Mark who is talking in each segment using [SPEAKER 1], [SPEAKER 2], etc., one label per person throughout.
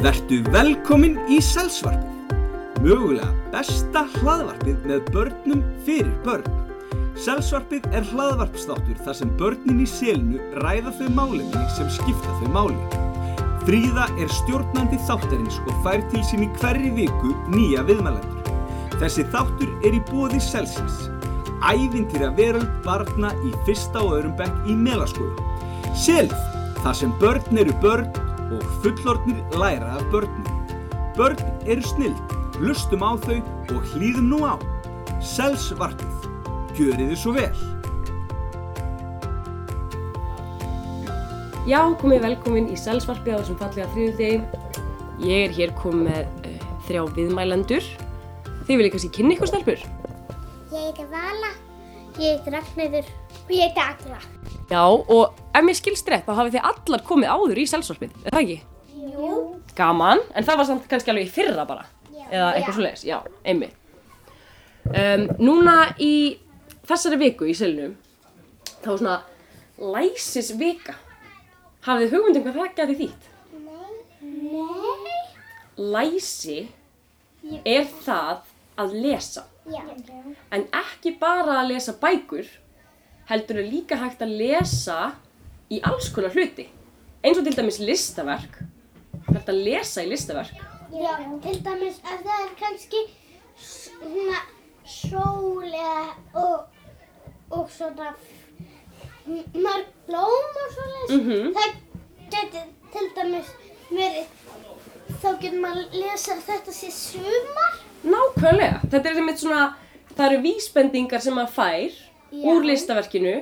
[SPEAKER 1] Vertu velkomin í Selsvarpið, mögulega besta hlaðvarpið með börnum fyrir börn. Selsvarpið er hlaðvarpstáttur þar sem börnin í selinu ræða þau málefni sem skipta þau máli. Fríða er stjórnandi þáttarins og fær til sín í hverri viku nýja viðmælendur. Þessi þáttur er í bóði Selsins, ævintýra veröld barna í fyrsta og öðrum bekk í melaskólu. Selð, þar sem börn eru börn og fullornir læra af börnum. Börn eru snild, hlustum á þau og hlýðum nú á. Selsvarpið, gjörið þið svo vel.
[SPEAKER 2] Já, komið velkomin í Sælsvarpi á þessum fallega þriðjudegi. Ég er hér komið með uh, þrjá viðmælendur. Þið viljið kannski kynna ykkur stelpur?
[SPEAKER 3] Ég heiti Vala, ég heiti Ragnhildur og ég heiti Agla.
[SPEAKER 2] Já, og ef mér skilst rétt þá hafið þið allar komið áður í Sælsvarpið, er það ekki?
[SPEAKER 3] Jú.
[SPEAKER 2] Gaman, en það var samt kannski alveg í fyrra bara.
[SPEAKER 3] Já.
[SPEAKER 2] Eða
[SPEAKER 3] Já.
[SPEAKER 2] eitthvað svoleiðis, já, einmitt. Um, núna í þessari viku í Sælnum, þá er svona læsisvika. Hafið þið hugmyndum hvað það gæti þýtt?
[SPEAKER 3] Nei. Nei.
[SPEAKER 2] Læsi
[SPEAKER 3] Ég-
[SPEAKER 2] er það að lesa.
[SPEAKER 3] Já.
[SPEAKER 2] En ekki bara að lesa bækur, heldur er líka hægt að lesa í alls konar hluti. Eins og til dæmis listaverk, það er hægt að lesa í listaverk.
[SPEAKER 3] Já, til dæmis ef það er kannski svona sól eða og, og svona m- mörg blóm og svona.
[SPEAKER 2] Mhm.
[SPEAKER 3] Það getur til dæmis verið, þá getur maður lesa að þetta sé sumar.
[SPEAKER 2] Nákvæmlega, þetta er einmitt svona, það eru vísbendingar sem maður fær
[SPEAKER 3] Já.
[SPEAKER 2] úr listaverkinu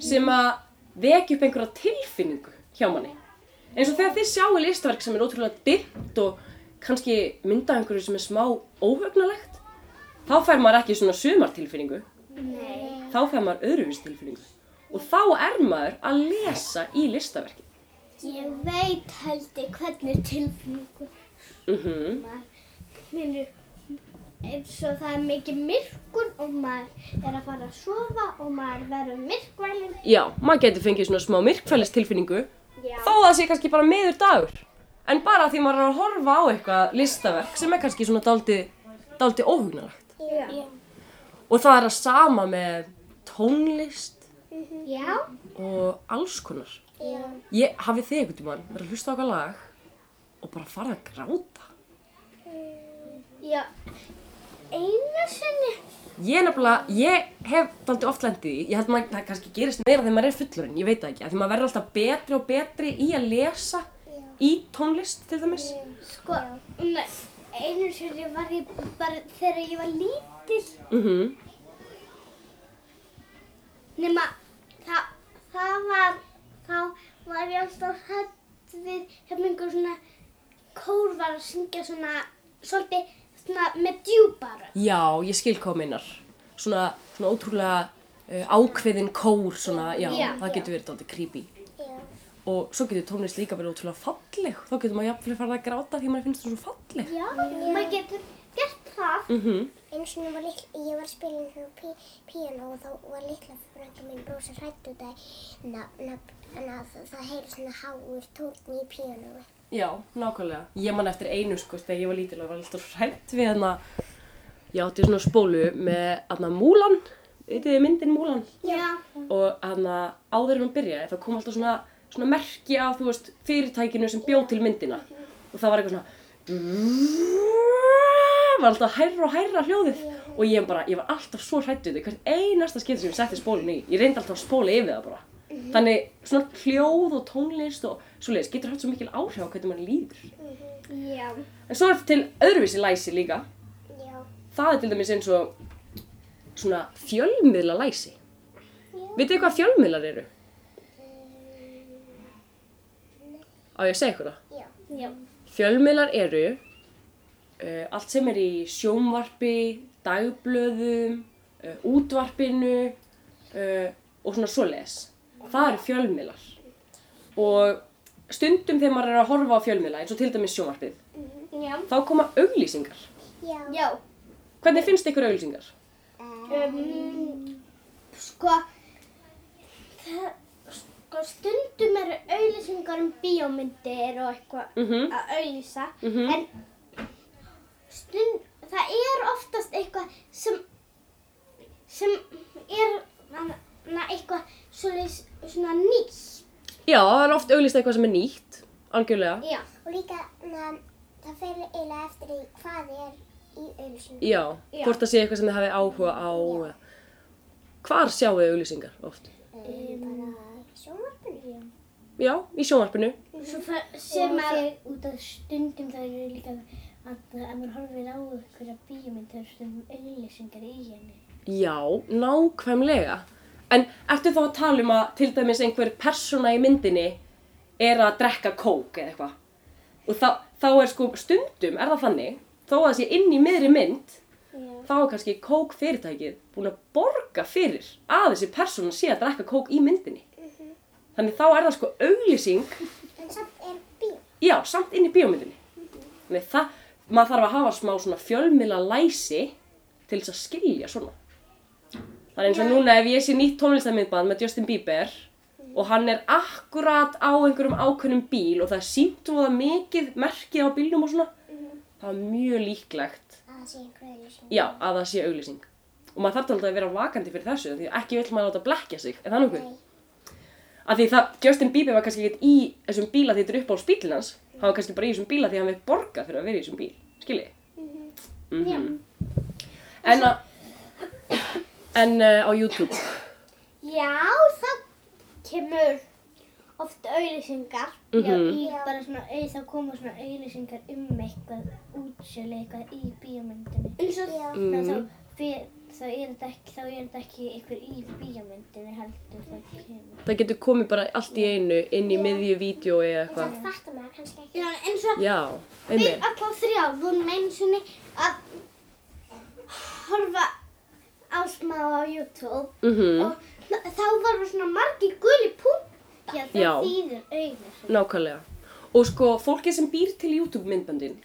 [SPEAKER 2] sem að vekja upp einhverja tilfinningu hjá manni. Eins og þegar þið sjáu listaverk sem er ótrúlega dimmt og kannski mynda einhverju sem er smá óhugnalegt, þá fær maður ekki svona sumartilfinningu.
[SPEAKER 3] Nei.
[SPEAKER 2] þá fær maður öðruvís tilfinningu og þá er maður að lesa í listaverki.
[SPEAKER 3] Ég veit heldur hvernig tilfinningu
[SPEAKER 2] Mm
[SPEAKER 3] maður finnur eins og það er mikið myrkur og maður er að fara að sofa og maður verður myrkvælinn.
[SPEAKER 2] Já, maður getur fengið svona smá myrkfælis tilfinningu
[SPEAKER 3] Já.
[SPEAKER 2] þó að það sé kannski bara meður dagur en bara því maður er að horfa á eitthvað listaverk sem er kannski svona dálti, dálti óhugnarlegt
[SPEAKER 3] Já.
[SPEAKER 2] og það er að sama með tónlist
[SPEAKER 3] Já.
[SPEAKER 2] og alls konar.
[SPEAKER 3] Já.
[SPEAKER 2] Ég hafið þið einhvern tímann verið að hlusta á eitthvað lag og bara fara að gráta.
[SPEAKER 3] Já. Einu sinni.
[SPEAKER 2] Ég nefnilega, ég hef daldi oft lendið í, ég held maður það kannski gerist meira þegar maður er fullurinn, ég veit það ekki, af því maður verður alltaf betri og betri í að lesa í tónlist til dæmis.
[SPEAKER 3] Sko, ne, einu sinni var ég bara þegar ég var lítill.
[SPEAKER 2] Mhm.
[SPEAKER 3] Nema, það, það var, þá var ég alltaf hætt við hef einhver svona kór var að syngja svona, svolítið svona með djúbara.
[SPEAKER 2] Já, ég skil hvað þú meinar. Svona, svona ótrúlega uh, ákveðin kór, svona, já,
[SPEAKER 3] Já.
[SPEAKER 2] það getur verið daldi creepy.
[SPEAKER 3] Já.
[SPEAKER 2] Og svo getur tónlist líka verið ótrúlega falleg, þá getur maður jafnvel farið að gráta því maður finnst það svo falleg.
[SPEAKER 3] Já, Mm. maður getur gert það.
[SPEAKER 2] Mhm.
[SPEAKER 4] Einu sinni var litla, ég var að spila einhverjum pí, píano og þá var litla frænka mín brosa hrætt út af nafn að það, það heyri svona háur tónn í píanói.
[SPEAKER 2] Já, nákvæmlega. Ég man eftir einu sko, þegar ég var lítil og var alltaf hrætt við hérna, ég átti svona spólu með hérna Múlan, veitir þið myndin Múlan?
[SPEAKER 3] Já.
[SPEAKER 2] Og hérna áður en hún byrjaði þá kom alltaf svona, svona merki af, þú veist, fyrirtækinu sem bjóð til myndina. Og það var eitthvað svona, var alltaf hærra og hærra hljóðið. Og ég bara, ég var alltaf svo hrætt við þau, hvert einasta skipti sem ég setti spólun í, ég reyndi alltaf að spóla yfir það bara. Þannig svona hljóð og tónlist og svoleiðis getur haft svo mikil áhrif á hvernig mann líður.
[SPEAKER 3] Já.
[SPEAKER 2] En svo er til öðruvísi læsi líka.
[SPEAKER 4] Já.
[SPEAKER 2] Það er til dæmis eins og svona fjölmiðla læsi. Vitið þið hvað fjölmiðlar eru? Á ég að segja ykkur það?
[SPEAKER 4] Já.
[SPEAKER 3] Já.
[SPEAKER 2] Fjölmiðlar eru uh, allt sem er í sjónvarpi, dagblöðum, uh, útvarpinu uh, og svona svoleiðis. Það eru fjölmiðlar. Og stundum þegar maður er að horfa á fjölmiðla, eins og til dæmis sjónvarpið,
[SPEAKER 3] Já.
[SPEAKER 2] þá koma auglýsingar.
[SPEAKER 4] Já.
[SPEAKER 3] Já.
[SPEAKER 2] Hvernig finnst ykkur auglýsingar?
[SPEAKER 3] Um, sko, það, sko, stundum eru auðlýsing eitthvað um bíómyndir og eitthvað
[SPEAKER 2] Mhm.
[SPEAKER 3] að auðvisa
[SPEAKER 2] Mhm.
[SPEAKER 3] en stund, það er oftast eitthvað sem sem er na- na- eitthvað svoleiðis svona nýtt
[SPEAKER 2] Já, það er oft auglýst eitthvað sem er nýtt, algjörlega.
[SPEAKER 3] já,
[SPEAKER 4] Og líka, na, það fer eiginlega eftir í hvað er í auðlýsingu.
[SPEAKER 2] Já,
[SPEAKER 3] Já.
[SPEAKER 2] hvort það sé eitthvað sem þið hafið áhuga á. Hvar sjáu þið auglýsingar oft?
[SPEAKER 4] Um, bara í sjónvarpinu.
[SPEAKER 2] Já, í sjónvarpinu.
[SPEAKER 3] svo fer- sem að
[SPEAKER 5] út af stundum það eru líka að ef maður horfir á einhverja bíómynd það eru stundum auðlýsingar í henni.
[SPEAKER 2] Já, nákvæmlega. En ertu þá að tala um að til dæmis einhver persóna í myndinni er að drekka kók eða eitthvað? Og þá, þá er sko stundum, er það þannig, þó að það sé inn í miðri mynd, þá er kannski kók fyrirtækið búin að borga fyrir að þessi persóna sé að drekka kók í myndinni. Þannig þá er það sko auglýsing
[SPEAKER 4] En samt er bíl.
[SPEAKER 2] Já, samt inn í bíómyndinni. Þannig það, maður þarf að hafa smá svona fjölmila læsi til þess að skilja svona. Það er eins og núna ef ég sé nýtt tónlistarmyndband með Justin Bieber og hann er akkurat á einhverjum ákveðnum bíl og það er sínt og það mikið merkið á bílnum og svona, það er mjög líklegt,
[SPEAKER 4] Að það sé einhver auðlýsingu.
[SPEAKER 2] já, að það sé auglýsing. Og maður þarf alveg að vera vakandi fyrir þessu því að ekki vill maður láta blekja sig, er það nokkuð?
[SPEAKER 4] Nei.
[SPEAKER 2] að því það, Justin Bieber var kannski ekkert í þessum bíla því þetta er upp á spílinn hans hann var kannski bara í þessum bíla því hann veit borga fyrir að vera í þessum bíl skilji mm en að en uh, á YouTube
[SPEAKER 3] já, það kemur oft auðlýsingar
[SPEAKER 2] Mhm.
[SPEAKER 5] Í bara svona auð þá koma svona auðlýsingar um eitthvað útsölu eitthvað í bíómyndinni.
[SPEAKER 3] eins og
[SPEAKER 4] Já.
[SPEAKER 5] Mm. Þá, fyr, þá er þetta ekki þá er þetta ekki einhver í bíómyndinni heldur það kemur.
[SPEAKER 2] það getur komið bara allt í einu inn í miðju vídeo eða
[SPEAKER 4] En samt
[SPEAKER 2] eitthvað
[SPEAKER 4] fattar maður kannski ekki.
[SPEAKER 3] já, eins og
[SPEAKER 2] já,
[SPEAKER 3] Við
[SPEAKER 2] einmitt
[SPEAKER 3] alla þrjá vorum einu sinni að horfa á smá á YouTube
[SPEAKER 2] mm
[SPEAKER 3] og þa- þá varum svona margir guli punkt
[SPEAKER 5] Já,
[SPEAKER 2] Já.
[SPEAKER 5] það þýður auðlýsingar.
[SPEAKER 2] nákvæmlega og sko, fólkið sem býr til YouTube myndböndin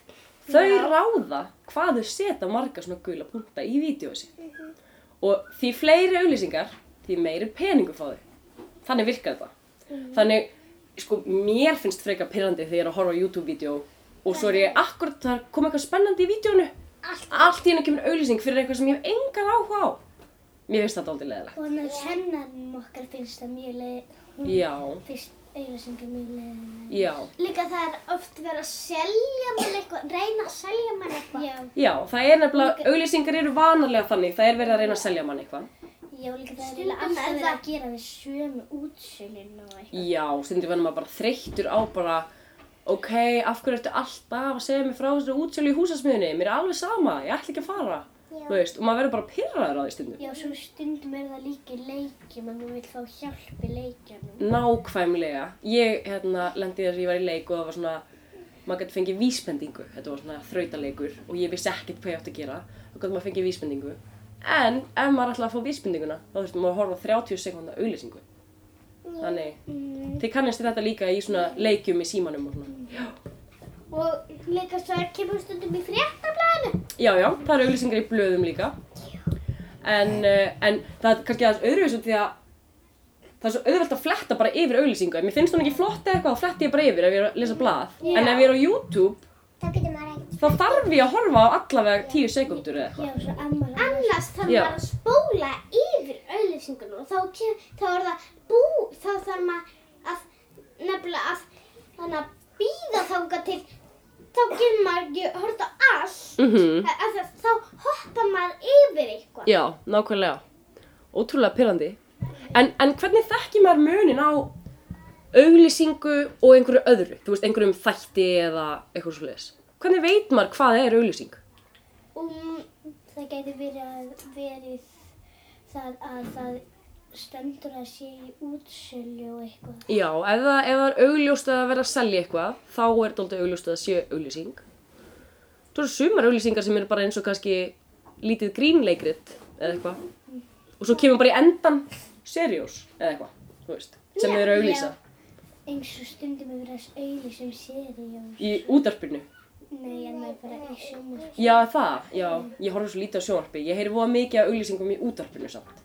[SPEAKER 2] þau ráða hvað þau setja marga svona gula punta í vídeo sitt og því fleiri auglýsingar því meiri peningur fá þau þannig virkar þetta þannig, sko, mér finnst frekar pyrrandi þegar ég er að horfa á YouTube-vídeó og svo er ég akkurat, það kom eitthvað spennandi í vídeónu allt, allt í hennu kemur auglýsing fyrir eitthvað sem ég hef engan áhuga á mér finnst þetta aldrei leðilegt
[SPEAKER 5] Og með kennarinn okkar finnst það mjög leið, hún
[SPEAKER 2] já,
[SPEAKER 5] finnst auðlýsingar mjög leiðinlega.
[SPEAKER 2] já,
[SPEAKER 3] líka það er oft verið að selja mann eitthvað, reyna að selja mann eitthvað
[SPEAKER 5] Já,
[SPEAKER 2] já, það er nefnilega auglýsingar eru vanalega þannig, það er verið að reyna að selja mann eitthvað
[SPEAKER 5] já, líka það er
[SPEAKER 3] Stundum
[SPEAKER 5] eiginlega alltaf
[SPEAKER 3] er
[SPEAKER 5] verið
[SPEAKER 3] það-
[SPEAKER 5] að gera við sömu útsölin og eitthvað.
[SPEAKER 2] Já, stundum verður maður bara þreyttur á bara Ok, af hverju ertu alltaf að segja mér frá þessari útsölu í húsasmiðunni? Mér er alveg sama, ég ætla ekki að fara
[SPEAKER 4] Já.
[SPEAKER 2] Þú veist, og maður verður bara pyrraður á því stundum
[SPEAKER 5] Já, svo stundum er það líka í leikjum að maður vil fá hjálp í leikjanum.
[SPEAKER 2] Nákvæmlega. Ég hérna, lendi þess að ég var í leik og það var svona, maður gæti fengið vísbendingu. Þetta var svona þrautaleikur og ég vissi ekkert hvað ég átti að gera. Þá gæti maður fengið vísbendingu. En ef maður ætlaði að fá vísbendinguna, þá þurfti maður að horfa á 30 sekundar auðlýsingu. Þannig, þið kannast þið þetta líka í svona leikjum í símanum og svona.
[SPEAKER 3] og líka svo er kemur stundum í fréttablaðinu
[SPEAKER 2] Já, já, það eru auðlýsingar í blöðum líka. En, uh, en það er kannski aðeins öðruvísu því að það er svo auðvelt að fletta bara yfir auðlýsingu. Ef mér finnst hún ekki flott eða eitthvað, þá fletti ég bara yfir ef ég er að lesa blað. En ef ég er á YouTube,
[SPEAKER 4] Þá getur maður ekkert.
[SPEAKER 2] þá þarf ég að horfa á allavega tíu sekundur eða eitthvað.
[SPEAKER 5] Já, svo ammar hann
[SPEAKER 3] annars þarf
[SPEAKER 2] Já.
[SPEAKER 3] maður að spóla yfir auðlýsingunum og þá, kem, þá er það bú þá þarf maður að nefnilega að þannig að býða þangað til þá getur maður ekki horft á allt
[SPEAKER 2] Mm
[SPEAKER 3] Að- að það- þá hoppar maður yfir eitthvað
[SPEAKER 2] Já, nákvæmlega. Ótrúlega pyrrandi. En, en hvernig þekkir maður munin á auglýsingu og einhverju öðru? Þú veist, einhverjum þætti eða eitthvað svo Hvernig veit maður hvað er auglýsing?
[SPEAKER 5] um, það gæti verið að verið það að það stendur að sé í útsölu og eitthvað.
[SPEAKER 2] Já, ef það, ef það er augljóst að það vera að selja eitthvað, þá er þetta aldrei augljóst að það sé auglýsing. Svo eru sumar auglýsingar sem eru bara eins og kannski lítið grínleikrit eða eitthvað. Og svo kemur bara í endan seriós eða eitthvað, þú veist, sem þau eru að auglýsa
[SPEAKER 5] Eins og stundum er verið að
[SPEAKER 3] um
[SPEAKER 5] auðlýsum seriós.
[SPEAKER 2] í útarpinu.
[SPEAKER 5] Nei, en maður bara í sjónvarpinu.
[SPEAKER 2] Já, það, já, ég horfði svo lítið á sjónvarpi, ég heyri voða mikið af auglýsingum í útarpinu samt.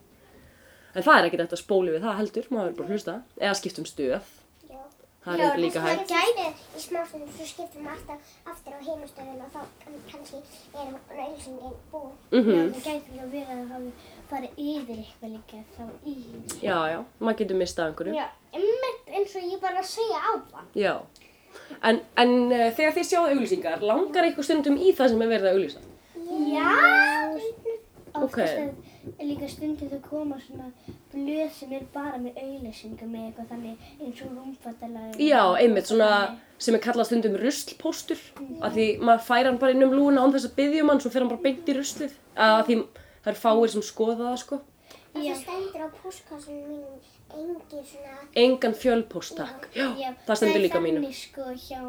[SPEAKER 2] En það er ekkert eftir að spóli við það heldur, maður er bara að hlusta, eða skipta um stöð.
[SPEAKER 4] Já.
[SPEAKER 2] það er ekki líka hægt.
[SPEAKER 4] gæti í smástunum svo skiptum við alltaf aftur á heimastöðun og þá kann- kannski er auðlýsingin búin
[SPEAKER 2] Mhm.
[SPEAKER 5] -hmm. Það gæti líka verið að það hafi farið yfir eitthvað líka þá í.
[SPEAKER 2] Já, já, maður getur mistað einhverju.
[SPEAKER 3] Já, einmitt eins og ég var að segja á það.
[SPEAKER 2] Já. En, en uh, þegar þið sjáðu auglýsingar, langar ykkur stundum í það sem er verið að auglýsa?
[SPEAKER 3] Já,
[SPEAKER 2] Ok.
[SPEAKER 5] Oftast er líka stundum þau koma svona blöð sem er bara með auðlýsingum með eitthvað þannig eins og rúmfattalag.
[SPEAKER 2] Já, einmitt svona sem er kallað stundum ruslpóstur af því maður fær hann bara inn um lúna án þess að byggja um hann, svo fer hann bara beint í ruslið af því það er fáir sem skoða það sko
[SPEAKER 4] og það stendur á postkassunum mínum engin svona
[SPEAKER 2] engan fjölpóstak Já,
[SPEAKER 5] Já,
[SPEAKER 2] það stendur líka á
[SPEAKER 5] Það er
[SPEAKER 2] mínu
[SPEAKER 5] þannig sko hjá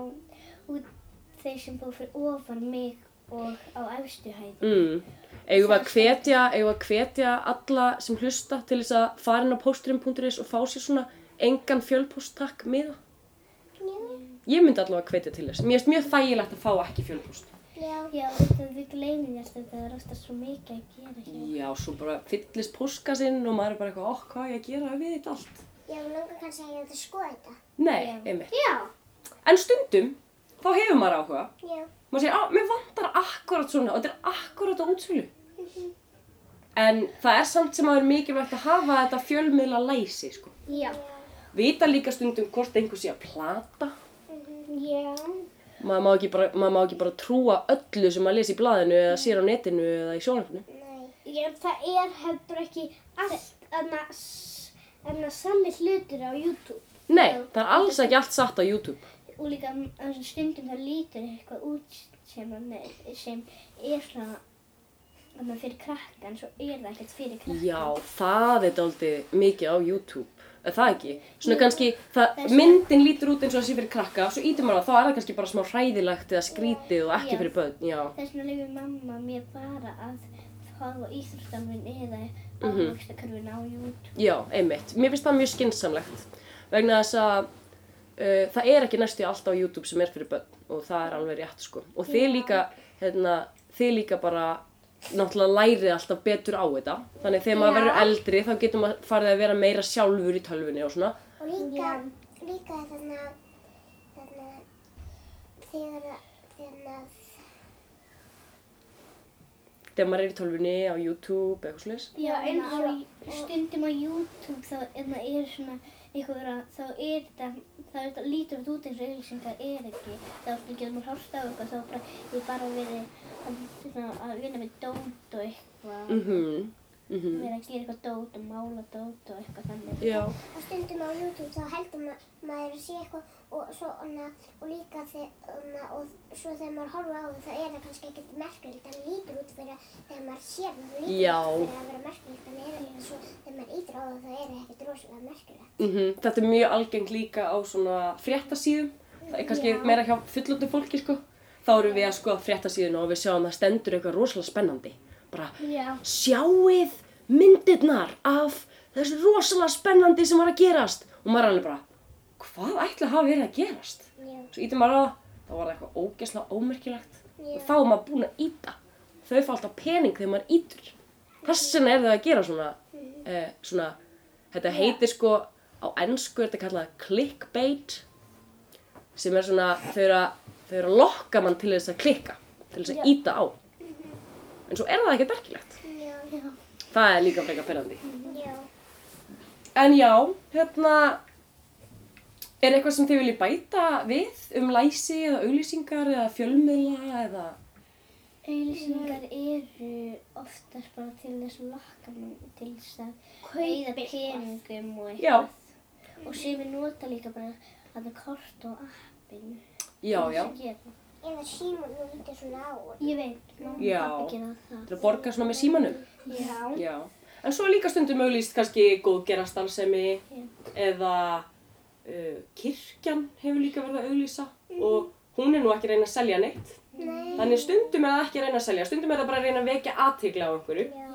[SPEAKER 5] út, þeir sem búið fyrir ofan mig og á efstu hæð.
[SPEAKER 2] mm. Eigum við að hvetja, eigum við að hvetja alla sem hlusta til þess að fara inn á pósturinn.is og fá sér svona engan fjölpóstak miða? Ég myndi allavega að hvetja til þess. Mér finnst mjög þægilegt að fá ekki fjölpóst.
[SPEAKER 5] Já, þetta við gleymum þér þetta, það er oftast svo mikið að gera hjá.
[SPEAKER 2] Já, svo bara fyllist póskasinn og maður er bara eitthvað, okk, hvað á ég að gera við þetta allt?
[SPEAKER 4] ég langar kannski að ég ætla að skoða þetta
[SPEAKER 2] Nei,
[SPEAKER 5] Já.
[SPEAKER 2] einmitt.
[SPEAKER 3] já.
[SPEAKER 2] En stundum, þá hefur maður áhuga.
[SPEAKER 4] já,
[SPEAKER 2] Maður segir, að, mér vantar akkurat svona og þetta er akkurat á útsölu. En það er samt sem maður mikilvægt að hafa þetta fjölmiðla læsi, sko.
[SPEAKER 3] Já.
[SPEAKER 2] Vita líka stundum hvort einhver sé að plata.
[SPEAKER 3] Já.
[SPEAKER 4] mhm.
[SPEAKER 2] Maður má ekki bara, maður má ekki bara trúa öllu sem maður les í blaðinu eða sér á netinu eða í sjónarfinu.
[SPEAKER 4] nei,
[SPEAKER 3] Ég, það er heldur ekki allt en að, en að sami hlutir á YouTube.
[SPEAKER 2] Nei, það er alls ekki allt satt á YouTube.
[SPEAKER 5] Og líka að stundum það lítur eitthvað út sem, hann er, sem er svona að maður fyrir krakkan, svo er það ekkert fyrir krakkan.
[SPEAKER 2] Já, það er daldið mikið á YouTube, er það ekki? Svona kannski, það,
[SPEAKER 5] það er svona-
[SPEAKER 2] myndin lítur út eins og það sé fyrir krakka, svo ítum maður á, þá er það kannski bara smá hræðilegt eða skrítið og ekki
[SPEAKER 5] Já.
[SPEAKER 2] fyrir börn, já.
[SPEAKER 5] Þess vegna leiður mamma mér bara að horfa á íþróttaminn eða
[SPEAKER 2] Mhm.
[SPEAKER 5] ávægstakörfin á YouTube.
[SPEAKER 2] Já, einmitt. Mér finnst það mjög skinsamlegt vegna þess að uh, það er ekki næstu allt á YouTube sem er fyrir börn og það er alveg rétt, sko. Og þið líka, hérna, þið líka bara náttúrulega lærið alltaf betur á þetta. Þannig þegar maður
[SPEAKER 3] Já.
[SPEAKER 2] verður eldri þá getur maður farið að vera meira sjálfur í tölvunni og svona.
[SPEAKER 4] og líka líka þarna þarna þegar þarna
[SPEAKER 2] þegar maður er í tölvunni á YouTube eða eitthvað slags.
[SPEAKER 5] Já,
[SPEAKER 3] eins
[SPEAKER 5] eins
[SPEAKER 3] og-
[SPEAKER 5] og stundum á YouTube þá er það er svona eitthvað vera, þá er þetta, þá er þetta lítur þetta út eins og auðvilsingar er ekki. Þá er getur maður hort á eitthvað, þá er bara, ég bara verið að, svona, að vinna með dót og eitthvað,
[SPEAKER 2] Mm -hmm. Mm
[SPEAKER 5] verið að gera eitthvað dót og mála dót og eitthvað þannig.
[SPEAKER 2] Já.
[SPEAKER 4] og stundum á YouTube þá heldur ma maður að sé eitthvað og svo hana, og líka þegar og svo þegar maður horfa á það þá er það kannski ekkert merkilegt en lítur út fyrir að þegar maður sér það þá lítur
[SPEAKER 2] Já.
[SPEAKER 4] út fyrir að vera merkilegt en er það svo þegar maður ítur á það þá er það ekkert rosalega merkilegt
[SPEAKER 2] Mm Þetta er mjög algeng líka á svona fréttasíðum. Það er kannski meira hjá fullöndu fólki sko. Þá erum við að skoða fréttasíðuna og við sjáum að það stendur eitthvað rosalega spennandi. Bara
[SPEAKER 3] Já.
[SPEAKER 2] sjáið myndirnar af þessu rosalega spennandi sem var að gerast. Og maður er alveg bara, hvað ætla að hafa verið að gerast?
[SPEAKER 4] já,
[SPEAKER 2] Svo ítum maður á það, þá var það eitthvað ógesla ómerkilegt. Og
[SPEAKER 4] Já.
[SPEAKER 2] þá er maður búinn að íta. Þau fá alltaf pening þegar maður ítur. Þess vegna er það að gera svona,
[SPEAKER 4] Mm.
[SPEAKER 2] eh, svona, þetta heitir sko, á ennsku er þetta kallað clickbait, sem er svona, þau eru að, þau eru að lokka mann til þess að klikka, til þess að íta á. En svo er það ekkert merkilegt.
[SPEAKER 4] já,
[SPEAKER 2] Það er líka frekar ferðandi.
[SPEAKER 4] já.
[SPEAKER 2] En já, hérna, er eitthvað sem þið viljið bæta við um læsi eða auglýsingar eða fjölmiðla eða...
[SPEAKER 5] Auðvilsingar eru oftast bara til þess að lakka mann til þess að kauða peningum og eitthvað.
[SPEAKER 2] Já.
[SPEAKER 5] Og sem við nota líka bara að það kort og appinu.
[SPEAKER 2] Já, já.
[SPEAKER 4] eða símur nú lítur svona á
[SPEAKER 5] Ég veit, mamma
[SPEAKER 2] Já.
[SPEAKER 5] og pappi gera það.
[SPEAKER 2] Til að borga svona með símanum?
[SPEAKER 3] Já.
[SPEAKER 2] Já. En svo er líka stundum auðlýst kannski góðgerastarðsemi eða uh, kirkjan hefur líka verið að auðlýsa og hún er nú ekki að reyna að selja neitt.
[SPEAKER 4] Mm. Nei.
[SPEAKER 2] Þannig stundum er það ekki að reyna að selja, stundum er það bara að reyna að vekja aðtegla á einhverju.
[SPEAKER 4] já,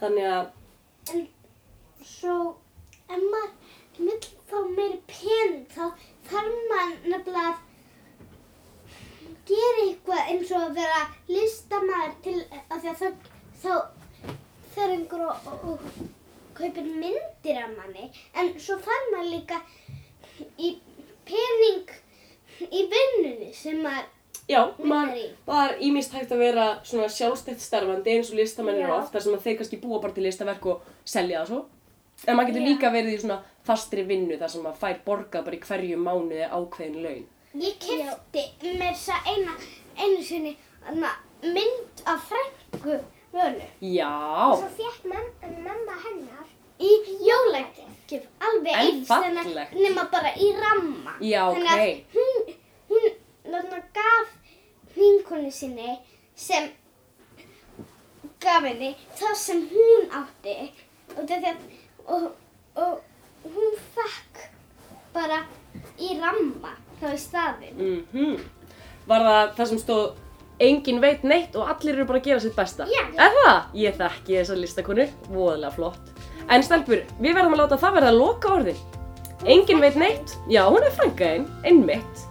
[SPEAKER 2] Þannig að
[SPEAKER 3] Svo ef maður vill fá meiri pening þá þarf maður nefnilega að gera eitthvað eins og að vera listamaður til af því að það, þá fer einhver og, og, og kaupir myndir af manni en svo þarf maður líka í pening í vinnunni sem maður
[SPEAKER 2] Já,
[SPEAKER 3] Vinnur í.
[SPEAKER 2] maður var ímist hægt að vera svona sjálfstætt starfandi eins og listamenn eru
[SPEAKER 3] Já.
[SPEAKER 2] ofta sem að þeir kannski búa bara til listaverk og selja það svo. En maður getur líka verið í svona fastri vinnu þar sem maður fær borgað bara í hverju mánuði ákveðin laun.
[SPEAKER 3] Ég kefti mér þess að eina, einu sinni hana, mynd af frængu völu
[SPEAKER 2] Já,
[SPEAKER 4] Svo fekk mam mamma hennar
[SPEAKER 3] í jólagjaf, alveg
[SPEAKER 2] En
[SPEAKER 3] eins þennan-
[SPEAKER 2] fallegt.
[SPEAKER 3] nema bara í ramma.
[SPEAKER 2] Já,
[SPEAKER 3] Þannig að
[SPEAKER 2] ókei.
[SPEAKER 3] hún, hún þarna, gaf vinkonu sinni sem gaf henni það sem hún átti og, að, og, og hún fekk bara í ramma þá í staðinn.
[SPEAKER 2] mhm. Var það það sem stóð engin veit neitt og allir eru bara að gera sitt besta?
[SPEAKER 3] Já.
[SPEAKER 2] Er það? Ég þekki þessar listakonu, voðalega flott. En stelpur, við verðum að láta það verða að loka orðin. Engin veit neitt? Já, hún er frængaðinn, einmitt.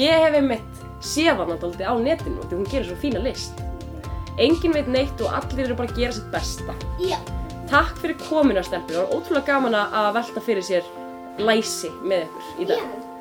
[SPEAKER 2] Ég hef einmitt séð hana dálítið á netinu því hún gerir svo fína list. Engin veit neitt og allir eru bara að gera sitt besta.
[SPEAKER 3] Já.
[SPEAKER 2] Takk fyrir komina stelpur, það var ótrúlega gaman að velta fyrir sér læsi með ykkur í dag.
[SPEAKER 3] Já.